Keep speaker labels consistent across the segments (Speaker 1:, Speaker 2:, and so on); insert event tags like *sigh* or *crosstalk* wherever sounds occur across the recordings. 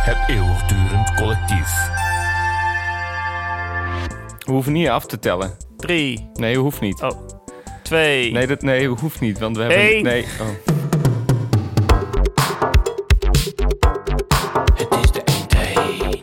Speaker 1: Het eeuwigdurend collectief.
Speaker 2: We hoeven niet af te tellen.
Speaker 3: 3,
Speaker 2: Nee, hoeft niet.
Speaker 3: oh, 2,
Speaker 2: Nee, dat nee, hoeft niet, want we hebben...
Speaker 3: Eén.
Speaker 2: Nee, oh.
Speaker 4: Het is de eindtijd.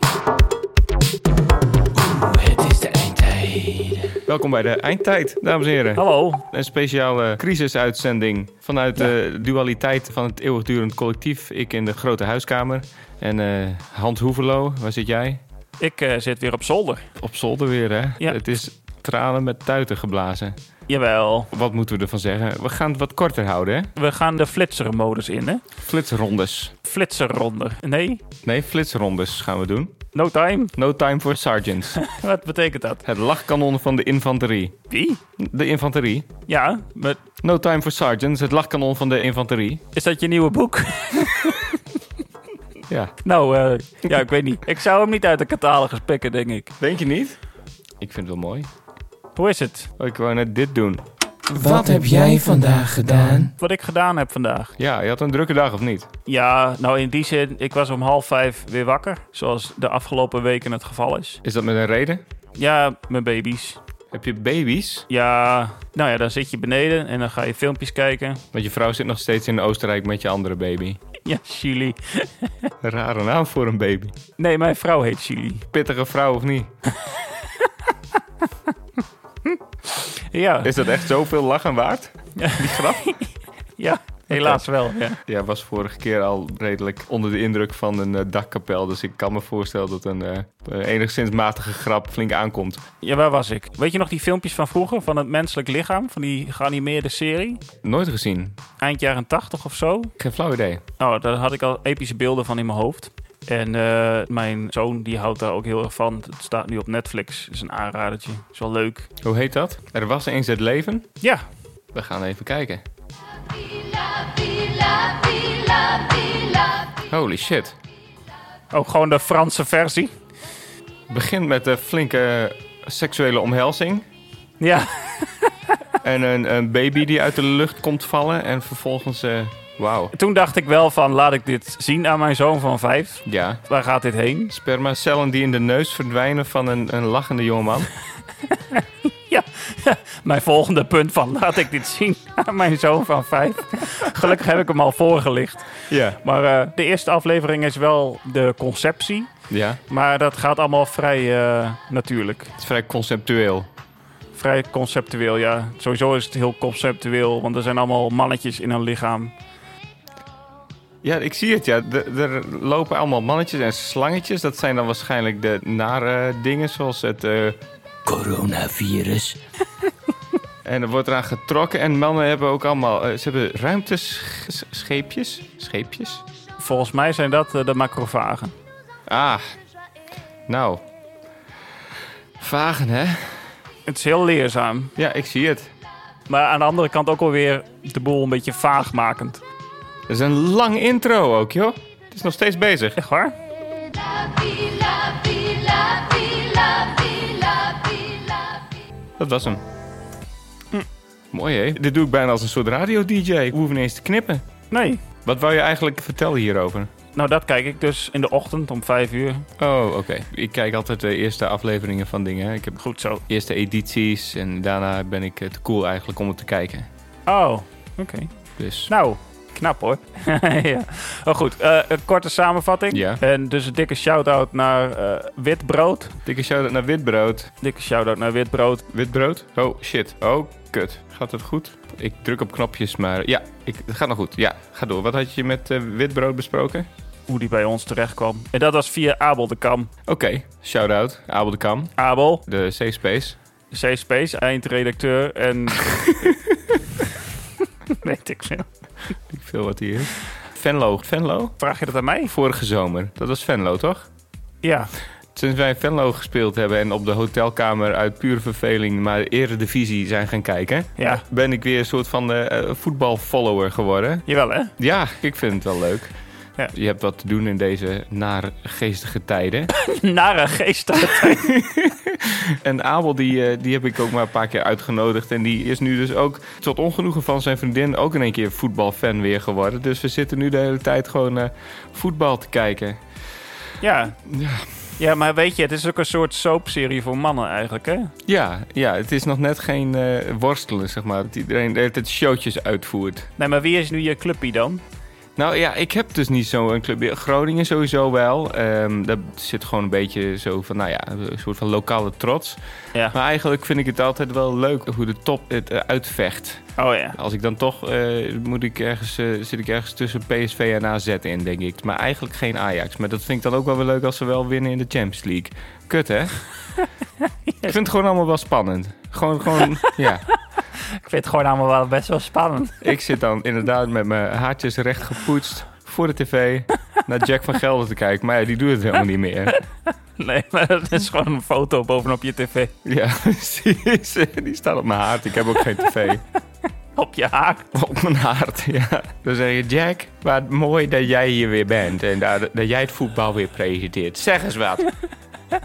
Speaker 4: Oeh, het is de eindtijd.
Speaker 2: Welkom bij de eindtijd, dames en heren.
Speaker 3: hallo.
Speaker 2: Een speciale crisisuitzending vanuit de dualiteit van het eeuwigdurend collectief. Ik in de grote huiskamer en eh Hans Hoevelo, waar zit jij?
Speaker 3: Ik eh, zit weer op zolder.
Speaker 2: Op zolder weer, hè?
Speaker 3: Ja.
Speaker 2: Het is tranen met tuiten geblazen.
Speaker 3: Jawel.
Speaker 2: Wat moeten we ervan zeggen? We gaan het wat korter houden, hè?
Speaker 3: We gaan de flitsermodus in, hè?
Speaker 2: Flitsrondes.
Speaker 3: Flitserronde. Nee?
Speaker 2: Nee, flitsrondes gaan we doen.
Speaker 3: No time? *laughs*
Speaker 2: No time for sergeants.
Speaker 3: Wat betekent dat?
Speaker 2: het lachkanon van de infanterie.
Speaker 3: Wie?
Speaker 2: De infanterie.
Speaker 3: Ja, maar
Speaker 2: No time for sergeants, het lachkanon van de infanterie.
Speaker 3: is dat je nieuwe boek? *laughs*
Speaker 2: Ja.
Speaker 3: nou, eh, ja, ik weet niet. Ik zou hem niet uit de catalogus pikken, denk ik.
Speaker 2: Denk je niet? Ik vind het wel mooi.
Speaker 3: Hoe is het?
Speaker 2: Oh, ik wou net dit doen.
Speaker 4: Wat heb jij vandaag gedaan?
Speaker 3: Wat ik gedaan heb vandaag?
Speaker 2: Ja, je had een drukke dag of niet?
Speaker 3: Ja, nou in die zin, ik was om half vijf weer wakker. Zoals de afgelopen weken het geval is.
Speaker 2: Is dat met een reden?
Speaker 3: Ja, mijn baby's.
Speaker 2: Heb je baby's?
Speaker 3: Ja, nou ja, dan zit je beneden en dan ga je filmpjes kijken.
Speaker 2: Want je vrouw zit nog steeds in Oostenrijk met je andere baby.
Speaker 3: Ja, Chili.
Speaker 2: Een rare naam voor een baby.
Speaker 3: Nee, mijn vrouw heet Chili.
Speaker 2: Pittige vrouw of niet?
Speaker 3: Ja,
Speaker 2: Is dat echt zoveel lachen waard? Die grap?
Speaker 3: ja helaas wel. Ja.
Speaker 2: *laughs* Ja, was vorige keer al redelijk onder de indruk van een eh, dakkapel. Dus ik kan me voorstellen dat een eh, enigszins matige grap flink aankomt.
Speaker 3: ja, waar was ik? Weet je nog die filmpjes van vroeger, van het menselijk lichaam? Van die geanimeerde serie?
Speaker 2: Nooit gezien.
Speaker 3: Eind jaren tachtig of zo?
Speaker 2: Geen flauw idee.
Speaker 3: Nou, daar had ik al epische beelden van in mijn hoofd. En eh, mijn zoon die houdt daar ook heel erg van. Het staat nu op Netflix. Is een aanradertje. Is wel leuk.
Speaker 2: Hoe heet dat? Er was eens het leven.
Speaker 3: Ja,
Speaker 2: We gaan even kijken. Holy shit.
Speaker 3: ook gewoon de Franse versie.
Speaker 2: Begint met een flinke seksuele omhelzing.
Speaker 3: Ja, *laughs*
Speaker 2: En een, een baby die uit de lucht komt vallen. En vervolgens. eh, Wauw.
Speaker 3: toen dacht ik wel van laat ik dit zien aan mijn zoon van vijf.
Speaker 2: Ja.
Speaker 3: Waar gaat dit heen?
Speaker 2: Spermacellen die in de neus verdwijnen van een, een lachende jongeman.
Speaker 3: Mijn volgende punt van laat ik dit zien aan mijn zoon van vijf. Gelukkig heb ik hem al voorgelicht.
Speaker 2: Ja.
Speaker 3: Maar eh, de eerste aflevering is wel de conceptie.
Speaker 2: Ja.
Speaker 3: Maar dat gaat allemaal vrij eh, natuurlijk.
Speaker 2: Het is vrij conceptueel.
Speaker 3: Vrij conceptueel, ja. Sowieso is het heel conceptueel, want er zijn allemaal mannetjes in een lichaam.
Speaker 2: Ja, ik zie het. Ja. D- er lopen allemaal mannetjes en slangetjes. Dat zijn dan waarschijnlijk de nare dingen. Zoals het. eh,
Speaker 4: Coronavirus.
Speaker 2: En er wordt eraan getrokken. En mannen hebben ook allemaal. eh, ze hebben ruimtescheepjes. Scheepjes?
Speaker 3: Volgens mij zijn dat eh, de macrofagen.
Speaker 2: Ah. Nou. Vagen, hè?
Speaker 3: Het is heel leerzaam,
Speaker 2: Ja, ik zie het.
Speaker 3: maar aan de andere kant ook alweer de boel een beetje vaagmakend.
Speaker 2: Dat is een lang intro ook, joh. Het is nog steeds bezig.
Speaker 3: Echt waar?
Speaker 2: Dat was hem. Hm. Mooi, hè? Dit doe ik bijna als een soort radio-dj. We hoeven niet eens te knippen.
Speaker 3: Nee.
Speaker 2: Wat wou je eigenlijk vertellen hierover?
Speaker 3: Nou, dat kijk ik dus in de ochtend om vijf uur.
Speaker 2: Oh, oké. Ik kijk altijd de eerste afleveringen van dingen. hè. Ik heb
Speaker 3: Goed zo.
Speaker 2: eerste edities en daarna ben ik eh, te cool eigenlijk om het te kijken.
Speaker 3: Oh, oké.
Speaker 2: Dus
Speaker 3: Nou, knap hoor. *laughs* ja. Maar goed, eh, een korte samenvatting.
Speaker 2: Ja.
Speaker 3: En dus een dikke shout-out naar eh, Witbrood.
Speaker 2: dikke shout-out naar Witbrood.
Speaker 3: Dikke shout-out naar Witbrood.
Speaker 2: Witbrood? Oh, shit. Oh, kut. Gaat het goed? Ik druk op knopjes, maar ja, ik, het gaat nog goed. Ja, ga door. Wat had je met eh, witbrood besproken?
Speaker 3: Hoe die bij ons terecht kwam. En dat was via Abel de Kam.
Speaker 2: Oké, shout-out. Abel de Kam,
Speaker 3: Abel,
Speaker 2: de Safe Space.
Speaker 3: C-Space, eindredacteur en... Weet ik veel.
Speaker 2: Ik veel wat hier is. Venlo. Venlo?
Speaker 3: Vraag je dat aan mij?
Speaker 2: Vorige zomer. Dat was Venlo, toch?
Speaker 3: Ja.
Speaker 2: Sinds wij in Venlo gespeeld hebben en op de hotelkamer uit pure verveling maar eredivisie zijn gaan kijken...
Speaker 3: Ja.
Speaker 2: ben ik weer een soort van eh, eh, voetbalfollower geworden.
Speaker 3: Jawel, hè? *laughs*
Speaker 2: Ja, ik vind het wel leuk.
Speaker 3: Ja.
Speaker 2: Je hebt wat te doen in deze naargeestige tijden.
Speaker 3: Nare geest.
Speaker 2: En Abel, die, eh, die heb ik ook maar een paar keer uitgenodigd. En die is nu dus ook, tot ongenoegen van zijn vriendin, ook in één keer voetbalfan weer geworden. Dus we zitten nu de hele tijd gewoon eh, voetbal te kijken.
Speaker 3: Ja.
Speaker 2: Ja.
Speaker 3: ja, maar weet je, het is ook een soort soapserie voor mannen eigenlijk, hè?
Speaker 2: Ja, ja, het is nog net geen eh, worstelen, zeg maar. Dat iedereen de hele tijd showtjes uitvoert.
Speaker 3: Nee, maar wie is nu je clubpie dan?
Speaker 2: Nou ja, ik heb dus niet zo'n club. Groningen sowieso wel. Ehm daar zit gewoon een beetje zo van, nou ja, een soort van lokale trots.
Speaker 3: Ja.
Speaker 2: Maar eigenlijk vind ik het altijd wel leuk hoe de top het eh, uitvecht.
Speaker 3: Oh ja.
Speaker 2: Als ik dan toch, eh, moet ik ergens, eh, zit ik ergens tussen PSV en AZ in, denk ik. Maar eigenlijk geen Ajax. Maar dat vind ik dan ook wel weer leuk als ze wel winnen in de Champions League. Kut, hè? Ik vind het gewoon allemaal wel spannend. Gewoon, gewoon, ja.
Speaker 3: Ik vind het gewoon allemaal wel best wel spannend.
Speaker 2: Ik zit dan inderdaad met mijn haartjes recht gepoetst voor de tv naar Jack van Gelder te kijken. Maar ja, die doet het helemaal niet meer.
Speaker 3: *laughs* Nee, maar het is gewoon een foto bovenop je tv.
Speaker 2: Ja, *laughs* precies. Die staat op mijn haard. Ik heb ook geen tv.
Speaker 3: Op je haar.
Speaker 2: Op mijn haard, ja. Dan zeg je, Jack, wat mooi dat jij hier weer bent. En dat, dat jij het voetbal weer presenteert. Zeg eens wat.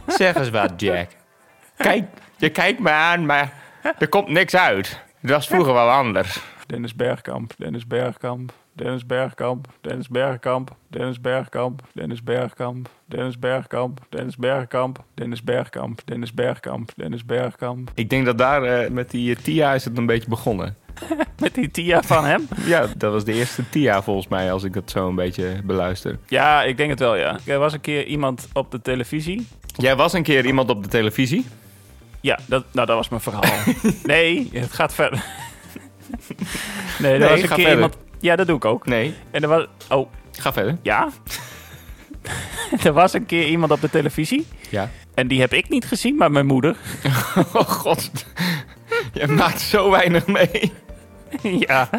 Speaker 2: Zeg eens wat, Jack. Kijk, je kijkt me aan, maar er komt niks uit. Dat was vroeger wel anders.
Speaker 3: Dennis Bergkamp, Dennis Bergkamp, Dennis Bergkamp, Dennis Bergkamp, Dennis Bergkamp, Dennis Bergkamp, Dennis Bergkamp, Dennis Bergkamp, Dennis Bergkamp, Dennis Bergkamp, Dennis Bergkamp.
Speaker 2: Ik denk dat daar eh, met die eh, Tia is het een beetje begonnen.
Speaker 3: Met die Tia van hem?
Speaker 2: Ja, dat was de eerste Tia volgens mij, als ik dat zo een beetje beluister.
Speaker 3: Ja, ik denk het wel, ja. Er was een keer iemand op de televisie.
Speaker 2: Jij was een keer iemand op de televisie.
Speaker 3: Ja, dat, nou, dat was mijn verhaal. Nee, het gaat verder. Nee, er
Speaker 2: Nee,
Speaker 3: was een
Speaker 2: ga
Speaker 3: keer
Speaker 2: verder.
Speaker 3: iemand... Ja, dat doe ik ook.
Speaker 2: Nee,
Speaker 3: En er was... Oh,
Speaker 2: ga verder.
Speaker 3: ja? *laughs* er was een keer iemand op de televisie.
Speaker 2: Ja.
Speaker 3: En die heb ik niet gezien, maar mijn moeder.
Speaker 2: *laughs*
Speaker 3: *laughs*
Speaker 2: Oh god, je maakt zo weinig mee.
Speaker 3: ja.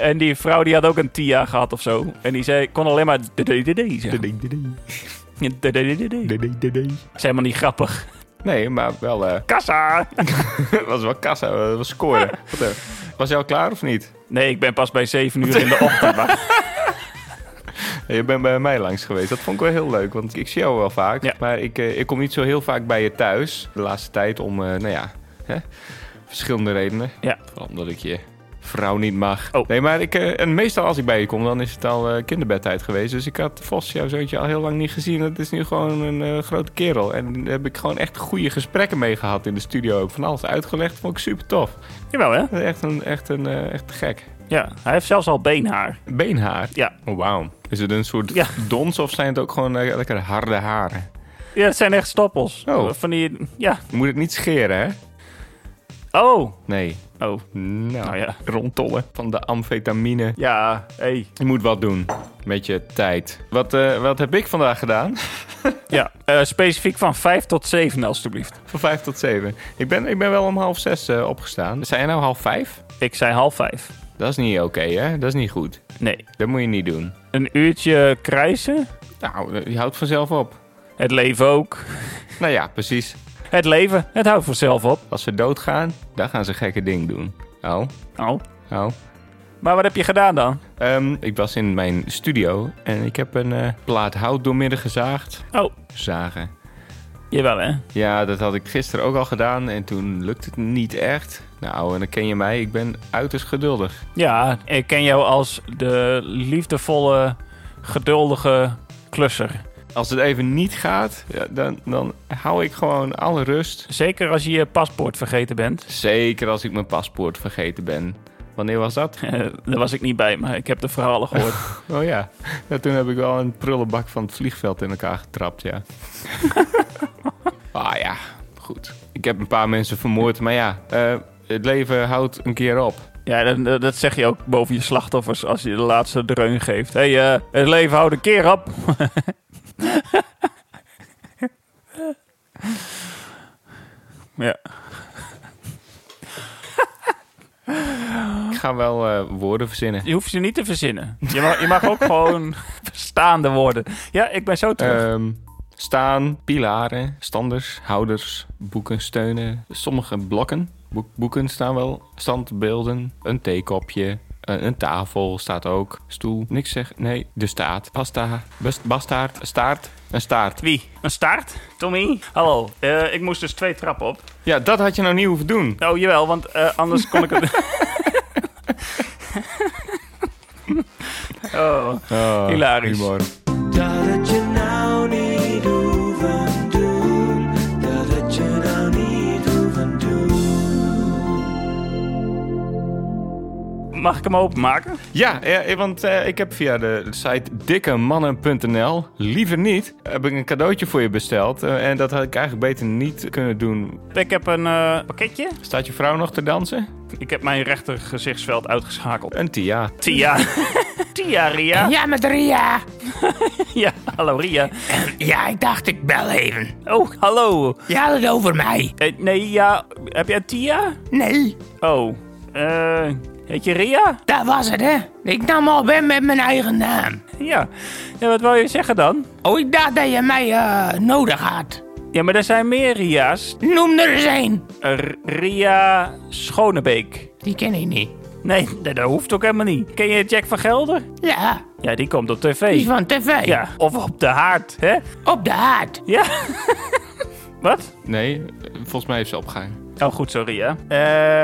Speaker 3: En die vrouw die had ook een Tia gehad of zo. En die zei, kon alleen maar DDD zeggen. DDD. Is helemaal niet grappig.
Speaker 2: Nee, maar wel, eh, *laughs*
Speaker 3: Kassa!
Speaker 2: het was wel kassa, het was scoren. Wat, eh, Was jij al klaar of niet?
Speaker 3: Nee, ik ben pas bij 7 uur in de ochtend. *laughs* Maar
Speaker 2: Je bent bij mij langs geweest. Dat vond ik wel heel leuk, want ik zie jou wel vaak.
Speaker 3: Ja.
Speaker 2: Maar ik, eh, ik kom niet zo heel vaak bij je thuis de laatste tijd om, eh, nou ja, hè, verschillende redenen.
Speaker 3: Ja.
Speaker 2: Vooral omdat ik je vrouw niet mag.
Speaker 3: Oh.
Speaker 2: Nee, maar ik, eh, en meestal als ik bij je kom, dan is het al eh, kinderbedtijd geweest. Dus ik had Vos, jouw zoontje, al heel lang niet gezien. Het is nu gewoon een eh, grote kerel. En daar heb ik gewoon echt goede gesprekken mee gehad in de studio. Ook van alles uitgelegd, vond ik super tof.
Speaker 3: jawel hè?
Speaker 2: Echt een, echt een, eh, echt gek.
Speaker 3: Ja, hij heeft zelfs al beenhaar.
Speaker 2: Beenhaar.
Speaker 3: Ja.
Speaker 2: Oh, wauw. Is het een soort
Speaker 3: Ja.
Speaker 2: dons of zijn het ook gewoon eh, lekker harde haren?
Speaker 3: Ja, het zijn echt stoppels. Eh,
Speaker 2: Oh.
Speaker 3: Van die... Ja.
Speaker 2: Je moet het niet scheren, hè?
Speaker 3: Oh.
Speaker 2: Nee.
Speaker 3: Oh.
Speaker 2: Nou,
Speaker 3: Nou ja.
Speaker 2: rondtollen van de amfetamine.
Speaker 3: Ja, hey.
Speaker 2: Je moet wat doen met je tijd. Wat, eh, wat heb ik vandaag gedaan? *laughs*
Speaker 3: Ja. Eh, specifiek van 5 tot 7 alstublieft.
Speaker 2: Van vijf tot zeven. Ik ben, ik ben wel om half zes eh, opgestaan. Zijn jij nou half vijf?
Speaker 3: Ik zei half 5.
Speaker 2: Dat is niet oké, hè? Dat is niet goed.
Speaker 3: Nee.
Speaker 2: Dat moet je niet doen.
Speaker 3: Een uurtje krijsen.
Speaker 2: Nou, eh, je houdt vanzelf op.
Speaker 3: Het leven ook.
Speaker 2: Nou ja, precies.
Speaker 3: Het leven, het houdt vanzelf op.
Speaker 2: Als ze doodgaan, dan gaan ze gekke ding doen. Oh,
Speaker 3: Oh.
Speaker 2: oh.
Speaker 3: Maar wat heb je gedaan dan?
Speaker 2: Ehm, ik was in mijn studio en ik heb een eh, plaat hout doormidden gezaagd.
Speaker 3: Oh,
Speaker 2: Zagen.
Speaker 3: jawel hè.
Speaker 2: Ja, dat had ik gisteren ook al gedaan en toen lukte het niet echt. Nou, en dan ken je mij, ik ben uiterst geduldig.
Speaker 3: Ja, ik ken jou als de liefdevolle, geduldige klusser.
Speaker 2: Als het even niet gaat, ja, dan, dan hou ik gewoon alle rust.
Speaker 3: Zeker als je je paspoort vergeten bent. *laughs*
Speaker 2: Zeker als ik mijn paspoort vergeten ben. Wanneer was dat?
Speaker 3: Eh, daar was ik niet bij, maar ik heb de verhalen gehoord.
Speaker 2: Oh ja, ja toen heb ik wel een prullenbak van het vliegveld in elkaar getrapt, ja. *laughs* ah ja, goed. Ik heb een paar mensen vermoord, maar ja, eh, het leven houdt een keer op.
Speaker 3: ja, dat, dat zeg je ook boven je slachtoffers als je de laatste dreun geeft. Hé, hey, eh, het leven houdt een keer op. *laughs* ja.
Speaker 2: Ik ga wel eh, woorden verzinnen.
Speaker 3: Je hoeft ze niet te verzinnen. Je mag, je mag ook gewoon verstaande worden. Ja, ik ben zo terug.
Speaker 2: Ehm, staan, pilaren, standers, houders, boeken, steunen. Sommige blokken. Boek- boeken staan wel. Standbeelden, een theekopje. Een, een tafel staat ook. Stoel, niks zeg. Nee, de staart. Pasta, best, bastaard, staart, een staart.
Speaker 3: Wie? Een staart? Tommy? Hallo, eh, ik moest dus twee trappen op.
Speaker 2: Ja, dat had je nou niet hoeven doen.
Speaker 3: Oh, jawel, want eh, anders kon ik het... *laughs* oh, hilarisch. Oh.
Speaker 2: Humor.
Speaker 4: Dat het je nou niet
Speaker 3: mag ik hem openmaken?
Speaker 2: Ja, eh, want eh, ik heb via de site dikkemannen.nl, liever niet, heb ik een cadeautje voor je besteld. Eh, en dat had ik eigenlijk beter niet kunnen doen.
Speaker 3: Ik heb een eh, pakketje.
Speaker 2: Staat je vrouw nog te dansen?
Speaker 3: Ik heb mijn rechter gezichtsveld uitgeschakeld.
Speaker 2: Een Tia.
Speaker 3: Tia. *laughs* Tia, Ria.
Speaker 4: Ja, met Ria.
Speaker 3: Ja, hallo Ria.
Speaker 4: Ja, ik dacht ik bel even.
Speaker 3: Oh, hallo.
Speaker 4: Je had het over mij.
Speaker 3: Eh, nee, ja. Heb jij Tia?
Speaker 4: Nee,
Speaker 3: Oh, eh. Heet je Ria?
Speaker 4: dat was het, hè. Ik nam al ben met mijn eigen naam.
Speaker 3: Ja. ja. Wat wil je zeggen dan?
Speaker 4: Oh, ik dacht dat je mij eh, nodig had.
Speaker 3: Ja, maar er zijn meer Ria's.
Speaker 4: Noem er eens een.
Speaker 3: R- Ria Schonebeek.
Speaker 4: Die ken ik niet.
Speaker 3: Nee, *laughs* dat dat hoeft ook helemaal niet. Ken je Jack van Gelder?
Speaker 4: Ja,
Speaker 3: Ja, die komt op
Speaker 4: die is
Speaker 3: tv.
Speaker 4: van tv.
Speaker 3: Ja, of op de haard, hè?
Speaker 4: Op de haard.
Speaker 3: Ja. *laughs* Wat?
Speaker 2: Nee, eh, volgens mij heeft ze opgehangen.
Speaker 3: Oh, goed, sorry, hè.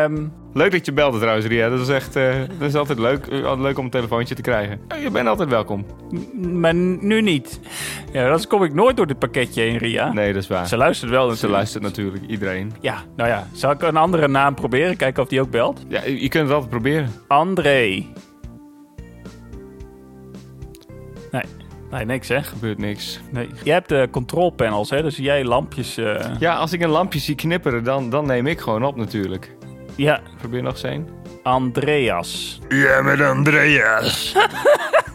Speaker 3: Ehm,
Speaker 2: Leuk dat je belde trouwens, Ria. Dat is echt eh, dat is altijd leuk, Eh, altijd leuk om een telefoontje te krijgen. Eh, Je bent altijd welkom.
Speaker 3: maar nu niet. Ja, anders kom ik nooit door dit pakketje heen, Ria.
Speaker 2: Nee, dat is waar.
Speaker 3: Ze luistert wel
Speaker 2: Ze
Speaker 3: natuurlijk.
Speaker 2: luistert natuurlijk, iedereen.
Speaker 3: Ja, nou ja. Zal ik een andere naam proberen? Kijken of die ook belt.
Speaker 2: Ja, je je kunt het altijd proberen.
Speaker 3: André. Nee. Nee, niks hè?
Speaker 2: Gebeurt niks.
Speaker 3: Nee. Jij hebt de control panels hè, dus jij lampjes. eh,
Speaker 2: Ja, als ik een lampje zie knipperen, dan, dan neem ik gewoon op natuurlijk.
Speaker 3: Ja,
Speaker 2: Probeer nog eens een.
Speaker 3: Andreas.
Speaker 5: Ja, met Andreas.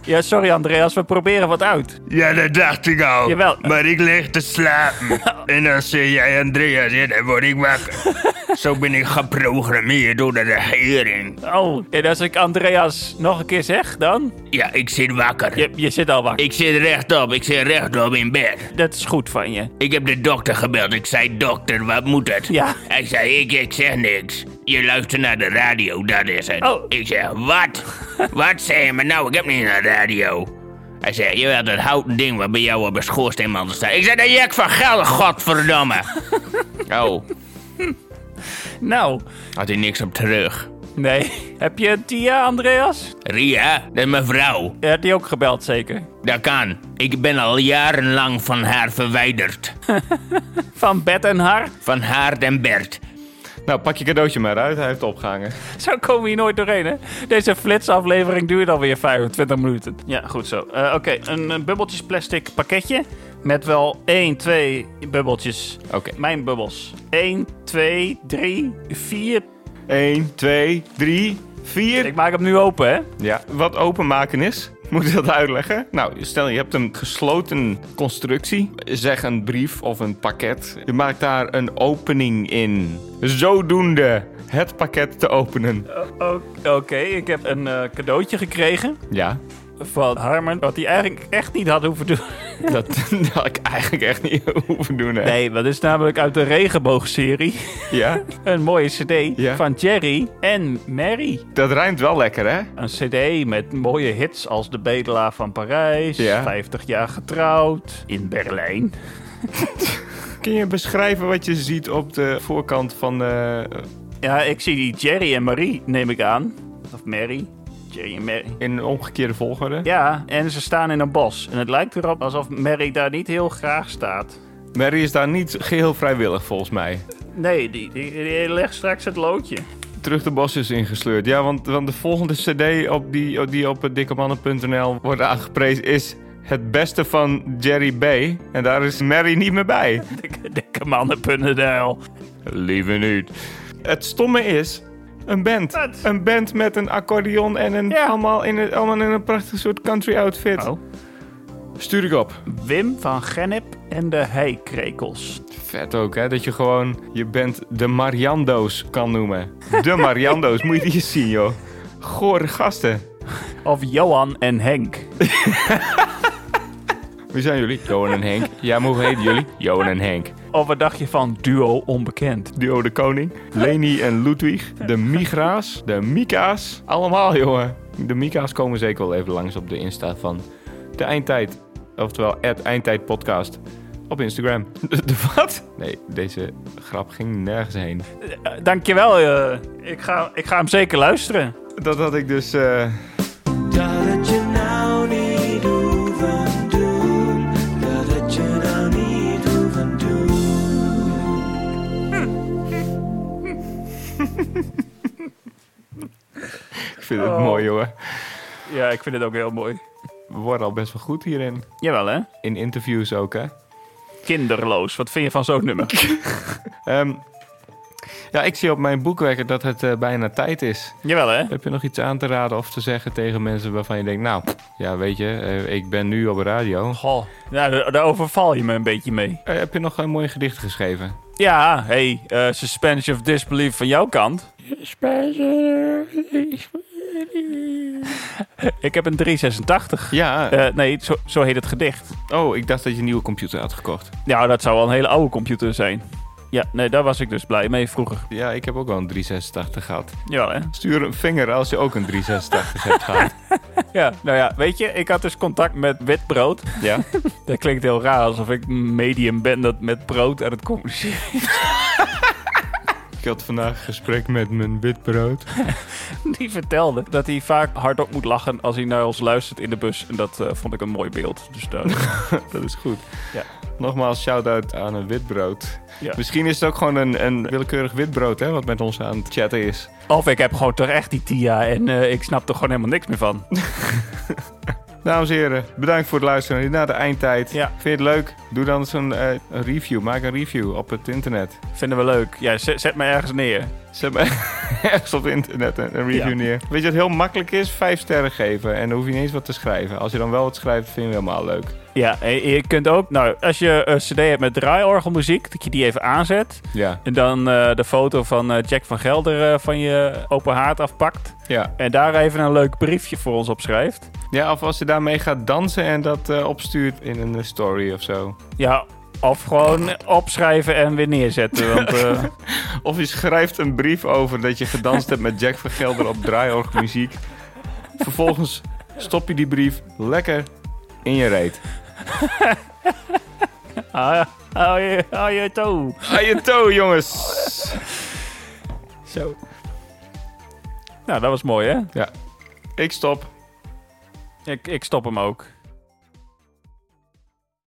Speaker 3: Ja, sorry Andreas, we proberen wat uit.
Speaker 5: Ja, dat dacht ik al.
Speaker 3: Jawel.
Speaker 5: Maar ik lig te
Speaker 3: *laughs*
Speaker 5: slapen. en dan zeg jij Andreas en dan word ik wakker. Zo ben ik geprogrammeerd door de regering.
Speaker 3: Oh, en als ik Andreas nog een keer zeg, dan?
Speaker 5: Ja, ik zit wakker.
Speaker 3: Je, je zit al wakker.
Speaker 5: Ik zit rechtop, ik zit rechtop in bed.
Speaker 3: Dat is goed van je.
Speaker 5: Ik heb de dokter gebeld. Ik zei, dokter, wat moet het?
Speaker 3: Ja.
Speaker 5: Hij zei, ik, ik zeg niks. Je luistert naar de radio, dat is het.
Speaker 3: Oh.
Speaker 5: Ik zeg,
Speaker 3: *laughs*
Speaker 5: wat? wat zeg je me nou? Ik heb niet naar de radio. Hij zei, jawel, dat houten ding wat bij jou op een schoorsteenmantel staat. Ik zei, dat Jack van Gelder,
Speaker 3: *laughs*
Speaker 5: godverdomme. oh,
Speaker 3: Nou,
Speaker 5: had hij niks op terug.
Speaker 3: nee. *laughs* Heb je een Tia, Andreas?
Speaker 5: Ria, dat is mijn vrouw.
Speaker 3: Hij had die ook gebeld zeker?
Speaker 5: Dat kan. Ik ben al jarenlang van haar verwijderd.
Speaker 3: Van bed en haar?
Speaker 5: Van haar en Bert.
Speaker 2: Nou, pak je cadeautje maar uit. Hij heeft opgehangen.
Speaker 3: *laughs* Zo komen we hier nooit doorheen, hè? Deze flitsaflevering duurt alweer 25 minuten. Ja, goed zo. Eh, Oké, een, een bubbeltjes plastic pakketje. Met wel 1, 2 bubbeltjes.
Speaker 2: Oké.
Speaker 3: Mijn bubbels. 1, 2, 3, 4.
Speaker 2: 1, 2, 3, 4.
Speaker 3: Ik maak hem nu open, hè?
Speaker 2: Ja, wat openmaken is. *laughs* Moet ik dat uitleggen? Nou, stel je hebt een gesloten constructie. Zeg een brief of een pakket. Je maakt daar een opening in. Zodoende het pakket te openen.
Speaker 3: O- Oh, Oké, ik heb een eh, cadeautje gekregen
Speaker 2: Ja,
Speaker 3: van Harman. Wat hij eigenlijk echt niet had hoeven
Speaker 2: *laughs*
Speaker 3: doen.
Speaker 2: dat, dat had ik eigenlijk echt niet *laughs* hoeven doen, hè?
Speaker 3: Nee, dat is namelijk uit de regenboogserie.
Speaker 2: Ja,
Speaker 3: Een mooie cd
Speaker 2: Ja.
Speaker 3: van Jerry en Mary.
Speaker 2: dat rijmt wel lekker, hè?
Speaker 3: Een cd met mooie hits als De Bedelaar van Parijs,
Speaker 2: Ja.
Speaker 3: 50 jaar getrouwd, in Berlijn.
Speaker 2: Kun je beschrijven wat je ziet op de voorkant van... eh,
Speaker 3: Ja, ik zie die Jerry en Marie, neem ik aan. Of Mary. Jerry en Mary.
Speaker 2: in een omgekeerde volgorde?
Speaker 3: Ja, en ze staan in een bos. En het lijkt erop alsof Mary daar niet heel graag staat.
Speaker 2: Mary is daar niet geheel vrijwillig, volgens mij.
Speaker 3: Nee, die, die, die legt straks het loodje.
Speaker 2: terug de bos is ingesleurd. Ja, want, want de volgende cd op die, die op het dikkemannen.nl wordt aangeprezen is... Het beste van Jerry B. En daar is Mary niet meer *laughs* bij.
Speaker 3: *laughs* Dikke- Dikkemannen.nl.
Speaker 2: Lieve niet. Het stomme is... Een band.
Speaker 3: Wat?
Speaker 2: Een band met een accordeon en een,
Speaker 3: Ja.
Speaker 2: allemaal, in een, allemaal in een prachtig soort country outfit.
Speaker 3: Oh.
Speaker 2: Stuur ik op.
Speaker 3: Wim van Gennep en de Heikrekels.
Speaker 2: Vet ook, hè? Dat je gewoon je band de Mariando's kan noemen. De Mariando's, *laughs* moet je die eens zien, joh. Gore gasten.
Speaker 3: Of Johan en Henk.
Speaker 2: Wie zijn jullie? Johan en Henk. Ja, maar hoe heten jullie? Johan en Henk.
Speaker 3: Of wat dacht je van Duo Onbekend?
Speaker 2: Duo de Koning. Leni en Ludwig. De Migra's. De Mika's. Allemaal, jongen. De Mika's komen zeker wel even langs op de Insta van de Eindtijd. Oftewel, het Eindtijd Podcast. Op Instagram. De, de wat? Nee, deze grap ging nergens heen.
Speaker 3: Eh, Dankjewel, eh, ik, ga, ik ga hem zeker luisteren.
Speaker 2: Dat had ik dus... eh,
Speaker 6: Dat het je nou niet hoeven doen. Dat het je nou niet hoeven doen.
Speaker 2: Ik vind het mooi, jongen.
Speaker 3: Ja, ik vind het ook heel mooi.
Speaker 2: We worden al best wel goed hierin.
Speaker 3: Jawel, hè?
Speaker 2: In interviews ook, hè?
Speaker 3: Kinderloos. Wat vind je van zo'n nummer? *laughs*
Speaker 2: Ehm, ja, ik zie op mijn boekwerker dat het eh, bijna tijd is.
Speaker 3: Jawel, hè?
Speaker 2: Heb je nog iets aan te raden of te zeggen tegen mensen waarvan je denkt... Nou, ja, weet je, eh, ik ben nu op de radio.
Speaker 3: Goh. Nou, daar- daar overval je me een beetje mee.
Speaker 2: Eh, heb je nog een mooi gedicht geschreven?
Speaker 3: Ja, hey, eh, suspension of disbelief van jouw kant. Ik heb een 386.
Speaker 2: Ja.
Speaker 3: Eh, nee, zo, zo heet het gedicht.
Speaker 2: oh, ik dacht dat je een nieuwe computer had gekocht.
Speaker 3: Nou, dat zou wel een hele oude computer zijn. Ja, nee, daar was ik dus blij mee vroeger.
Speaker 2: Ja, ik heb ook al een 386 gehad.
Speaker 3: Jawel, hè?
Speaker 2: Stuur een vinger als je ook een 386 hebt gehad.
Speaker 3: Ja, nou ja, weet je, ik had dus contact met wit brood.
Speaker 2: Ja?
Speaker 3: *laughs* Dat klinkt heel raar, alsof ik een medium ben dat met brood aan het communiceren.
Speaker 2: *laughs*
Speaker 3: *laughs*
Speaker 2: Ik had vandaag een gesprek met mijn witbrood.
Speaker 3: Die vertelde dat hij vaak hardop moet lachen als hij naar ons luistert in de bus. En dat eh, vond ik een mooi beeld. Dus daar...
Speaker 2: *laughs*
Speaker 3: *laughs*
Speaker 2: Dat is goed.
Speaker 3: Ja.
Speaker 2: Nogmaals, shout-out aan een witbrood.
Speaker 3: Ja.
Speaker 2: Misschien is het ook gewoon een, een willekeurig witbrood hè, wat met ons aan het chatten is.
Speaker 3: Of ik heb gewoon toch echt die TIA en eh, ik snap er gewoon helemaal niks meer *laughs* van.
Speaker 2: Dames en heren, bedankt voor het luisteren naar de eindtijd.
Speaker 3: Ja.
Speaker 2: Vind je het leuk? Doe dan zo'n eh, een review. Maak een review op het internet.
Speaker 3: Vinden we leuk. Ja, zet, zet me ergens neer.
Speaker 2: Zet maar *laughs* ergens op het internet een, een review
Speaker 3: Ja.
Speaker 2: neer. Weet je wat heel makkelijk is? Vijf sterren geven. En dan hoef je niet eens wat te schrijven. Als je dan wel wat schrijft, vind je hem helemaal leuk.
Speaker 3: Ja, en je kunt ook, nou, als je een CD hebt met draaiorgelmuziek, dat je die even aanzet.
Speaker 2: Ja.
Speaker 3: En dan eh, de foto van eh, Jack van Gelder eh, van je open haard afpakt.
Speaker 2: Ja.
Speaker 3: En daar even een leuk briefje voor ons op schrijft.
Speaker 2: ja, of als je daarmee gaat dansen en dat eh, opstuurt in een eh, story of zo.
Speaker 3: Ja, of gewoon opschrijven en weer neerzetten. Want eh,
Speaker 2: Of je schrijft een brief over dat je gedanst hebt met Jack van Gelder op draaiorgmuziek. Vervolgens stop je die brief lekker in je reet.
Speaker 3: ah, hou je, hou je toe.
Speaker 2: Aan je toe, jongens!
Speaker 3: Zo. Nou, dat was mooi, hè?
Speaker 2: Ik stop.
Speaker 3: Ik, ik stop hem ook.